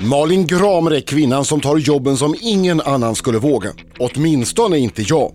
Malin Gramer är kvinnan som tar jobben som ingen annan skulle våga. Åtminstone inte jag.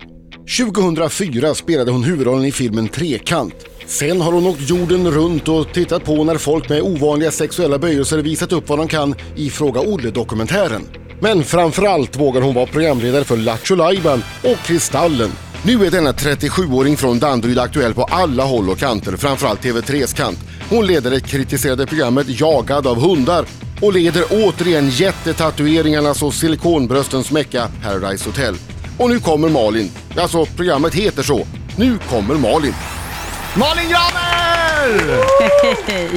2004 spelade hon huvudrollen i filmen Trekant. Sen har hon åkt jorden runt och tittat på när folk med ovanliga sexuella böjelser visat upp vad de kan i Fråga Olle-dokumentären. Men framförallt vågar hon vara programledare för Lattjo Lajban och Kristallen. Nu är denna 37-åring från Danderyd aktuell på alla håll och kanter, framförallt TV3s kant. Hon leder det kritiserade programmet Jagad av hundar och leder återigen jättetatueringarnas och silikonbröstens mecka Paradise Hotel. Och nu kommer Malin. Alltså, programmet heter så. Nu kommer Malin. Malin Gramer! Hej!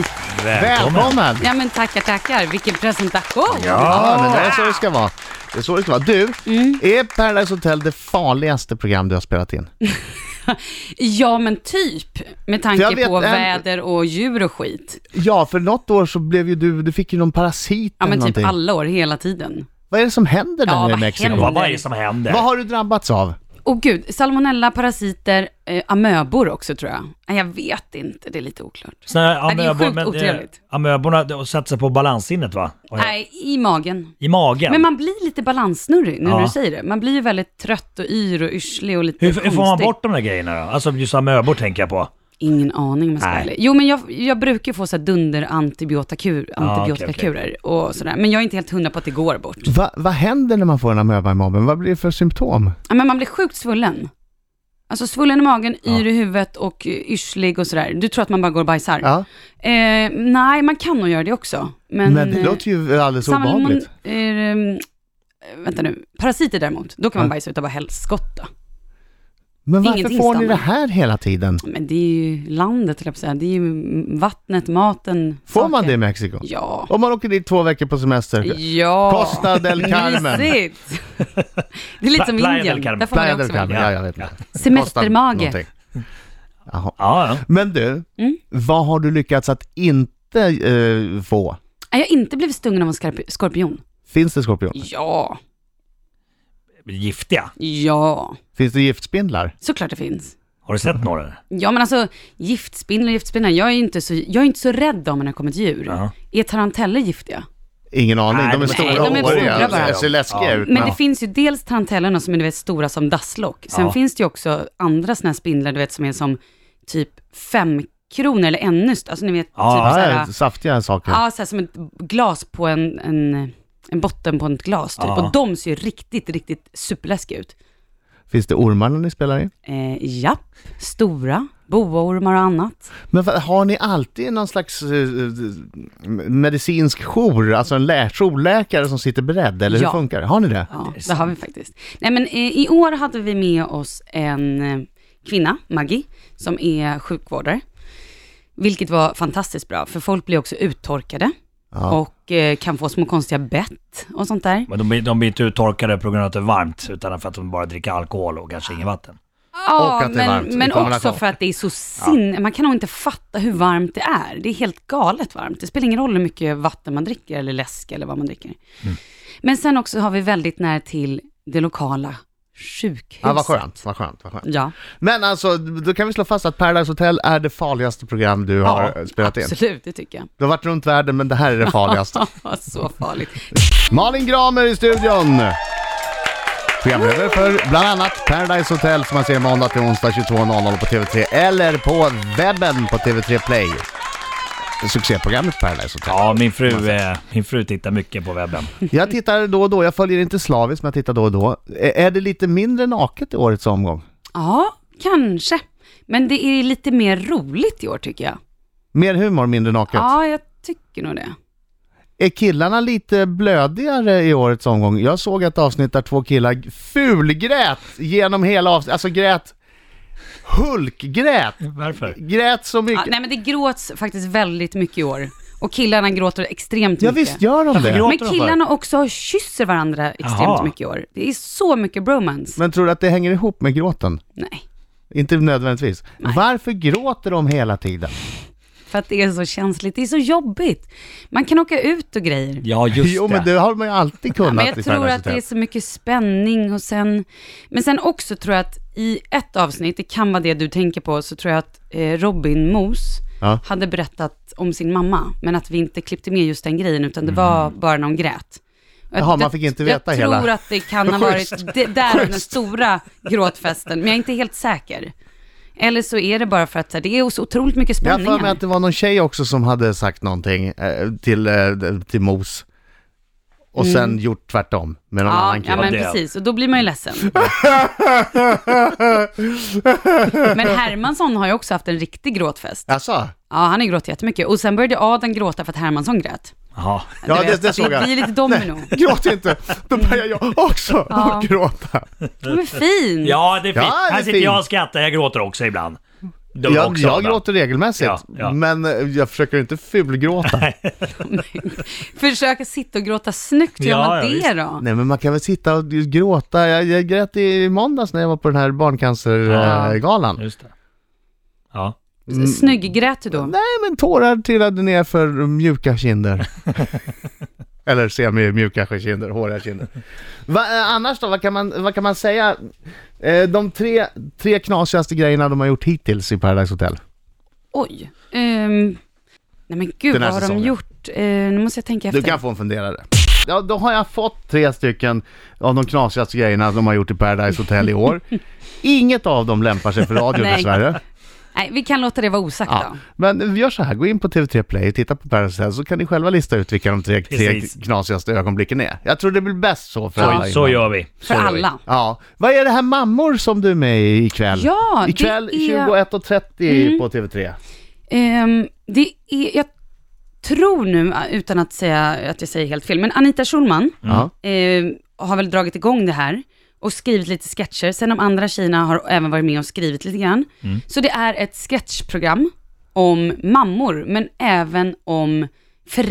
Välkommen! Ja men tackar, tackar. Vilken presentation. Ja, men det är så det ska vara. Det är så det ska vara. Du, Mm. är Paradise Hotel det farligaste program du har spelat in? Mm. Ja, men typ. Med Jag tanke vet på en- väder och djur och skit. Ja, för något år så blev ju du, du fick ju någon parasit Ja eller men typ någonting. alla år, hela tiden. Vad är det som händer där Ja, nere i vad Mexiko? händer? Vad, vad är det som händer? Vad har du drabbats av? Och gud, salmonella, parasiter, eh, amöbor också tror jag. Nej, jag vet inte, det är lite oklart. Såna här Ja, det är amöbor, sjukt men, eh, otrevligt. Amöborna de sätter sig på balanssinnet va? Och- Nej, i magen. I magen? Men man blir lite balanssnurrig nu Ja. när du säger det. Man blir ju väldigt trött och yr och yrslig och lite hur, hur får man konstig. bort de där grejerna då? Alltså just amöbor tänker jag på. Ingen aning om jag ska vara Nej. Ah, ärlig. Jo men jag, jag brukar ju få så här dunder antibiotikakur, okej, antibiotikakurer och sådär. Men jag är inte helt hundra på att det går bort. Va, vad händer när man får en amöba i magen? Vad blir det för symptom? Ja, men man blir sjukt svullen. Alltså svullen i magen, yr i huvudet och eh, yrslig och sådär. Du tror att man bara går och bajsar. Ja, Eh, nej, man kan nog göra det också. Men, eh, men, det låter ju alldeles obehagligt. obehagligt. ehm, Vänta nu, parasiter däremot, då kan man Ja. bajsa utav bara helskotta. Men varför ingenting får ni det stannar. här hela tiden? Men det är ju landet, höll jag på att säga. Det är ju mm, vattnet, maten. Får saker. man det i Mexiko? Ja. Om man åker dit två veckor på semester? Ja. Costa del Carmen. Mysigt. Det är lite som Pla- Playa del Indien. Carmen. Där får man Playa också del Carmen, välja. ja jag vet inte. Kostar Semestermage. någonting. Jaha. Ja, ja. Men du, Mm. vad har du lyckats att inte eh, få? Nej, Jag har inte blivit stungen av en skorp- skorpion. Finns det skorpion? Ja. Giftiga. Ja. Finns det giftspindlar? Såklart det finns. Har du sett några? Ja men alltså, giftspindlar, giftspindlar. Jag är ju inte så, jag är inte så rädd om när det kommer ett djur. Ja. Är taranteller giftiga? Ingen aning, Nej, de är nej, stora de är och stora bara. åriga. Ser läskiga Ja. ut. Men det ja. finns ju dels tarantellerna som är du vet, stora som dasslock. Sen Ja. finns det ju också andra sådana här spindlar du vet som är som typ fem kronor eller ännu st- Alltså ni vet, Ja, typ såhär, ja, saftiga saker. ja, såhär som ett glas på en, en, en botten på ett glas typ. Ja. Och de ser ju riktigt, riktigt superläskiga ut. Finns det ormar när ni spelar in? Eh, ja, stora, boaormar och annat. Men vad- har ni alltid någon slags eh, eh, medicinsk jour, alltså en lä- jourläkare som sitter beredd, eller hur Ja. funkar det? Har ni det? Ja, det har vi faktiskt. Nej, men eh, i år hade vi med oss en eh, kvinna, Maggie, som är sjukvårdare. Vilket var fantastiskt bra, för folk blir också uttorkade Ja. och eh, kan få små konstiga bett och sånt där. Men de, blir- de blir inte uttorkade på grund av att det är varmt, utan för att de bara dricker alkohol och kanske inget vatten. Ja, Och att det är varmt i men, men också kombination. för att det är så sin... Man kan nog inte fatta hur varmt det är. Det är helt galet varmt. Det spelar ingen roll hur mycket vatten man dricker eller läsk eller vad man dricker. Mm. Men sen också har vi väldigt nära till det lokala sjukhuset. Ja, vad skönt, vad skönt, vad skönt. Ja. Men alltså, då kan vi slå fast att Paradise Hotel är det farligaste program du har eh, spelat in. Absolut, det tycker jag. Du har varit runt världen, men det här är det farligaste. Ja, så farligt. Malin Gramer i studion! Programledare för bland annat Paradise Hotel som man ser måndag till onsdag 22.00 på TV3 eller på webben på TV3 Play. Succéprogrammet Paradise Hotel. Ja, min fru, eh, min fru tittar mycket på webben. Jag tittar då och då, jag följer inte slaviskt men jag tittar då och då. Ä- Är det lite mindre naket i årets omgång? Ja, kanske. Men det är lite mer roligt i år tycker jag. Mer humor, mindre naket? Ja, jag tycker nog det. Är killarna lite blödigare i årets omgång? Jag såg ett avsnitt där två killar fulgrät genom hela avsnittet, alltså grät Hulkgrät! Varför? Grät så Ja, mycket. nej, men det gråts faktiskt väldigt mycket i år. Och killarna gråter extremt Ja mycket. visst gör de det. Men killarna också kysser varandra extremt Jaha. mycket i år. Det är så mycket bromance. Men tror du att det hänger ihop med gråten? Nej, Inte nödvändigtvis. Varför gråter de hela tiden? för att det är så känsligt. Det är så jobbigt. Man kan åka ut och grejer. Ja, just Jo det. men det har man ju alltid kunnat. Men i jag tror Paradise att det Hotel. är så mycket spänning och sen, men sen också tror jag att i ett avsnitt, det kan vara det du tänker på, så tror jag att eh, Robin Mos Ja. hade berättat om sin mamma, men att vi inte klippte med just den grejen, utan det var bara när hon grät. Och jag- Mm. Jaha, man jag- fick inte veta jag hela. tror att det kan ha varit det, där den stora gråtfesten, men jag är inte helt säker. Eller så är det bara för att så här, det är så otroligt mycket Jag har spänningar. för mig att det var någon tjej också som hade sagt någonting eh, till, eh, till Mos. Och sen gjort tvärtom med någon Mm. Ja, annan ja, kille. men Det- precis. Och då blir man ju ledsen. men Hermansson har ju också haft en riktig gråtfest. Jaså? Ja, han har ju gråtit jättemycket. Och sen började Adam gråta för att Hermansson grät. Jaha. Ja, Du det- det såg jag. Det blir lite domino. Gråt inte! Då börjar jag också Ja. att gråta. Den är fin. Ja, det är fint. Ja, det är Här sitter fint. jag och skrattar. Jag gråter också ibland. Du Jag, också jag ibland. gråter regelmässigt, Ja, ja. men eh, jag försöker inte fulgråta. Försöka sitta och gråta snyggt. Hur gör Ja, man ja, det visst. då? Nej men man kan väl sitta och gråta. Jag, jag grät i måndags när jag var på den här Ja. barncancergalan. Just det. Ja. Snygg grät du då? Mm. Nej men tårar trillade ner för mjuka kinder. Eller semi-mjuka kinder, håriga kinder. Va, eh, annars då, vad kan man, vad kan man säga? Eh, de tre, tre knasigaste grejerna de har gjort hittills i Paradise Hotel. Oj. Ehm, nej men gud, Den här vad har de säsongen. gjort? Eh, nu måste jag tänka efter. Du kan få en funderare. Ja, då har jag fått tre stycken av de knasigaste grejerna de har gjort i Paradise Hotel i år. Inget av dem lämpar sig för radio Nej. dessvärre. Nej, vi kan låta det vara osagt Ja. då. Men vi gör så här, gå in på TV3 Play och titta på Paradise Hotel så kan ni själva lista ut vilka de tre, tre Precis. knasigaste ögonblicken är. Jag tror det blir bäst så för Så, alla. så inblandade. gör vi. För Så gör vi. alla. Ja. Vad är det här mammor som du är med i ikväll? Ja, ikväll det är- Mhm. Mm. 21.30 på TV3. Ehm, det är, jag tror nu, ah, utan att säga att jag säger helt fel, men Anita Schulman Ja. ehm, har väl dragit igång det här och skrivit lite sketcher. Sen de andra tjejerna har även varit med och skrivit lite grann. Så det är ett sketchprogram om mammor, men även om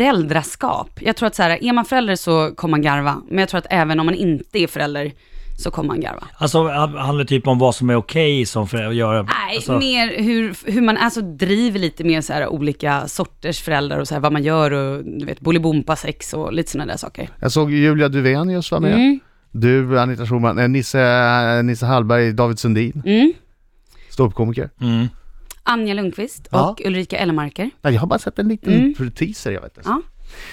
föräldraskap. Jag tror att så här, är man förälder så kommer man garva, men jag tror att även om man inte är förälder så kommer man garva. Alltså, han- handlar typ om vad som är okej som för att göra... Nej, alltså, mer hur, hur man alltså driver lite mer så här olika sorters föräldrar och så här vad man gör och du vet bolibompa sex och lite sådana där saker. Jag såg Julia Duvenius var med. Mm. Du, Anita Schulman, eh, Nisse, Nisse Hallberg, David Sundin. Mm. Ståuppkomiker. mm. Anja Lundqvist Ja. och Ulrika Ellemarker. Nej, Jag har bara sett en liten Mm. teaser, jag vet inte. Ja.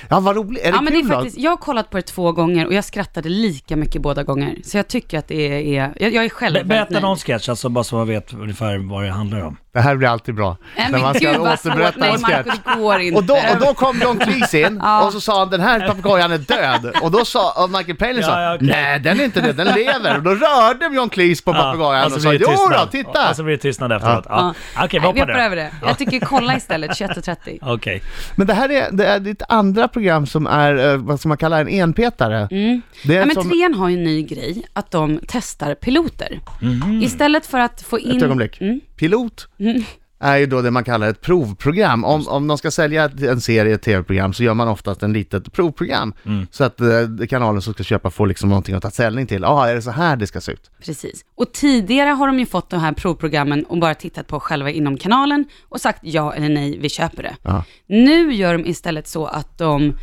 ja, vad roligt. Är det ja, men det är kul då? faktiskt, jag har kollat på det två gånger och jag skrattade lika mycket båda gånger. Så jag tycker att det är, jag, jag är själv Be- väldigt Berätta nöjd. någon sketch, alltså, bara så man vet ungefär vad det handlar om. Det här blir alltid bra. Nej, när men man ska gud vad svårt. återberätta Nej, en Marco, sketch. det går inte. Och då, och då kom John Cleese in Ja. och så sa han den här papegojan är död. Och då sa och Michael Palin sa Ja, ja, okej. nej den är inte död, den lever. Och då rörde John Cleese på Ah, papegojan och sa blir det jo då, alltså, tystnad. alltså, titta! Och så blir det tystnad efteråt. Ja. Okej, vi Nej, hoppar det. över det. Jag tycker kolla istället, 21.30. Okej. Men det här är, det är ditt andra program som är eh, vad som man kallar en enpetare. Det är Mm. Ja, men som, trean har ju en ny grej, att de testar piloter. Mhm. Istället för att få in... ett ögonblick, Mm. pilot är ju då det man kallar ett provprogram. Om, om de ska sälja ett- en serie ett tv-program så gör man oftast en litet provprogram. Så att eh, kanalen som ska köpa får liksom någonting att ta ställning till. Ja, är det så här det ska se ut? Precis. Och tidigare har de ju fått de här provprogrammen och bara tittat på själva inom kanalen och sagt ja eller nej, vi köper det. Ja. Nu gör de istället så att de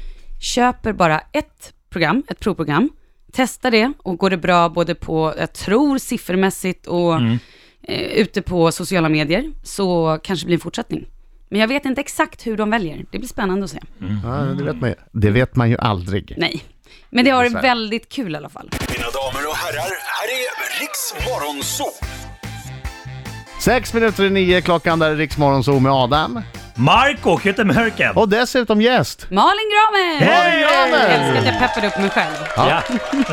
köper bara ett program, ett provprogram, testar det och går det bra både på, jag tror siffermässigt och eh, ute på sociala medier så kanske det blir en fortsättning. Men jag vet inte exakt hur de väljer. Det blir spännande att se. Ja, det vet man ju. Det vet man ju aldrig. Nej. Men det har Så här. varit väldigt kul i alla fall. Mina damer och herrar, här är Riks Morgonzoo! Sex minuter i nio klockan där är Riksmorgon Zoo med Adam. Marco Kuttemörken! Och dessutom gäst. Malin Gramer! Hej, Gramer! Älskar att jag peppade upp mig själv. Ja.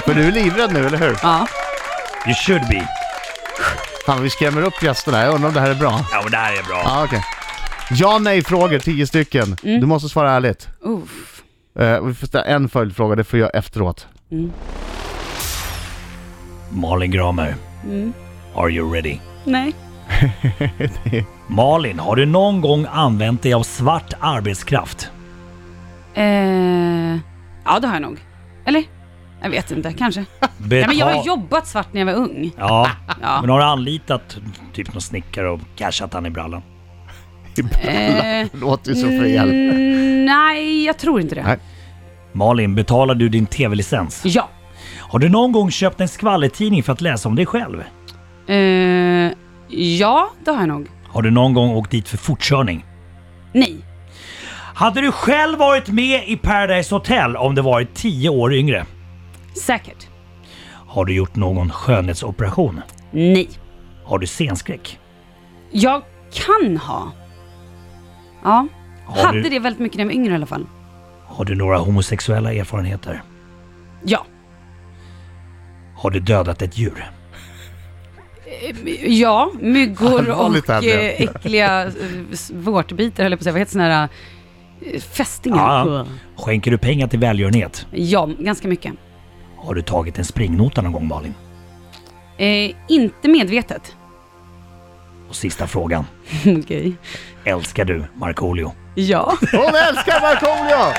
För du är livrädd nu, eller hur? Ja. You should be. Fan, vi skrämmer upp gästerna. Jag undrar om det här är bra. Ja, och det här är bra. Ja, Ah, okej. Ja nej-frågor, tio stycken. Mm. Du måste svara ärligt. Uff. Eh, och vi får ställa en följdfråga, det får jag efteråt. Malin Gramer. Mm. Are you ready? Nej. Malin, har du någon gång använt dig av svart arbetskraft? Eh, ja, det har jag nog. Eller? Jag vet inte, kanske. Nej, men jag har jobbat svart när jag var ung. Ja, men Ja. har du anlitat typ någon snickare och cashat han i brallan? Eh, Det låter ju så fel. mm, nej, jag tror inte det. Nej. Malin, betalar du din tv-licens? Ja. Har du någon gång köpt en skvallertidning för att läsa om dig själv? Eh, ja, det har jag nog. Har du någon gång åkt dit för fortkörning? Nej. Hade du själv varit med i Paradise Hotel om du varit 10 år yngre? Säkert. Har du gjort någon skönhetsoperation? Nej. Har du scenskräck? Jag kan ha. Ja. Har Hade du- det väldigt mycket när jag var yngre i alla fall. Har du några homosexuella erfarenheter? Ja. Har du dödat ett djur? Ja, myggor Allvarligt, och eh, Adrian. äckliga eh, s- vårtbitar höll jag på att säga. Vad heter såna här eh, fästingar? Ja. Skänker du pengar till välgörenhet? Ja, ganska mycket. Har du tagit en springnota någon gång Malin? Eh, inte medvetet. Och sista frågan. Okej. Älskar du Markoolio? Ja. Hon älskar Markoolio!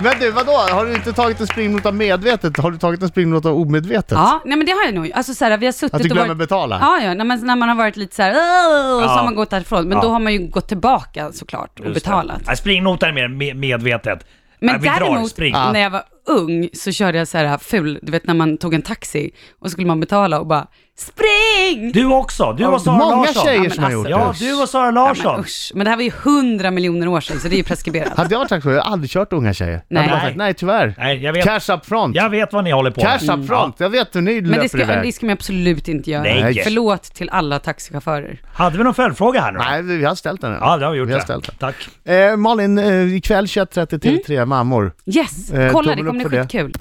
Men du, vadå? Har du inte tagit en springnota medvetet? Har du tagit en springnota omedvetet? ja. Nej men det har jag nog. Alltså så här, vi har suttit Att du och glömmer varit... betala? Ja, ja. När man, när man har varit lite så här, "Åh", och så Ja. har man gått därifrån. Men Ja. då har man ju gått tillbaka såklart och Just det. betalat. Nej, springnota är mer med- medvetet. Nej, Men vi drar, däremot, spring. när jag var ung så körde jag så här ful, du vet när man tog en taxi och så skulle man betala och bara spring! Du också! Du och Sara Många Larsson. tjejer Ja, som har men gjort Ja, det. du och Sara Ja, Larsson. men, usch. men det här var ju hundra miljoner år sedan så det är ju preskriberat. Hade jag varit tacksam, jag hade aldrig kört unga tjejer. Jag hade Nej. bara sagt, nej tyvärr. Nej, jag vet. Cash up front. Jag vet vad ni håller på Cash up front. Jag vet hur ni Mm. men löper det ska, iväg. det ska man absolut inte göra. Nej. Förlåt till alla taxichaufförer. Hade vi någon följdfråga här nu? då? Nej, vi vi har ställt den. Ja, det har vi gjort. har det. ställt den. Tack. Eh, Malin, eh, ikväll 21.30 till tre mammor. Yes, Eh, kolla tummen det upp kommer för bli det. skitkul.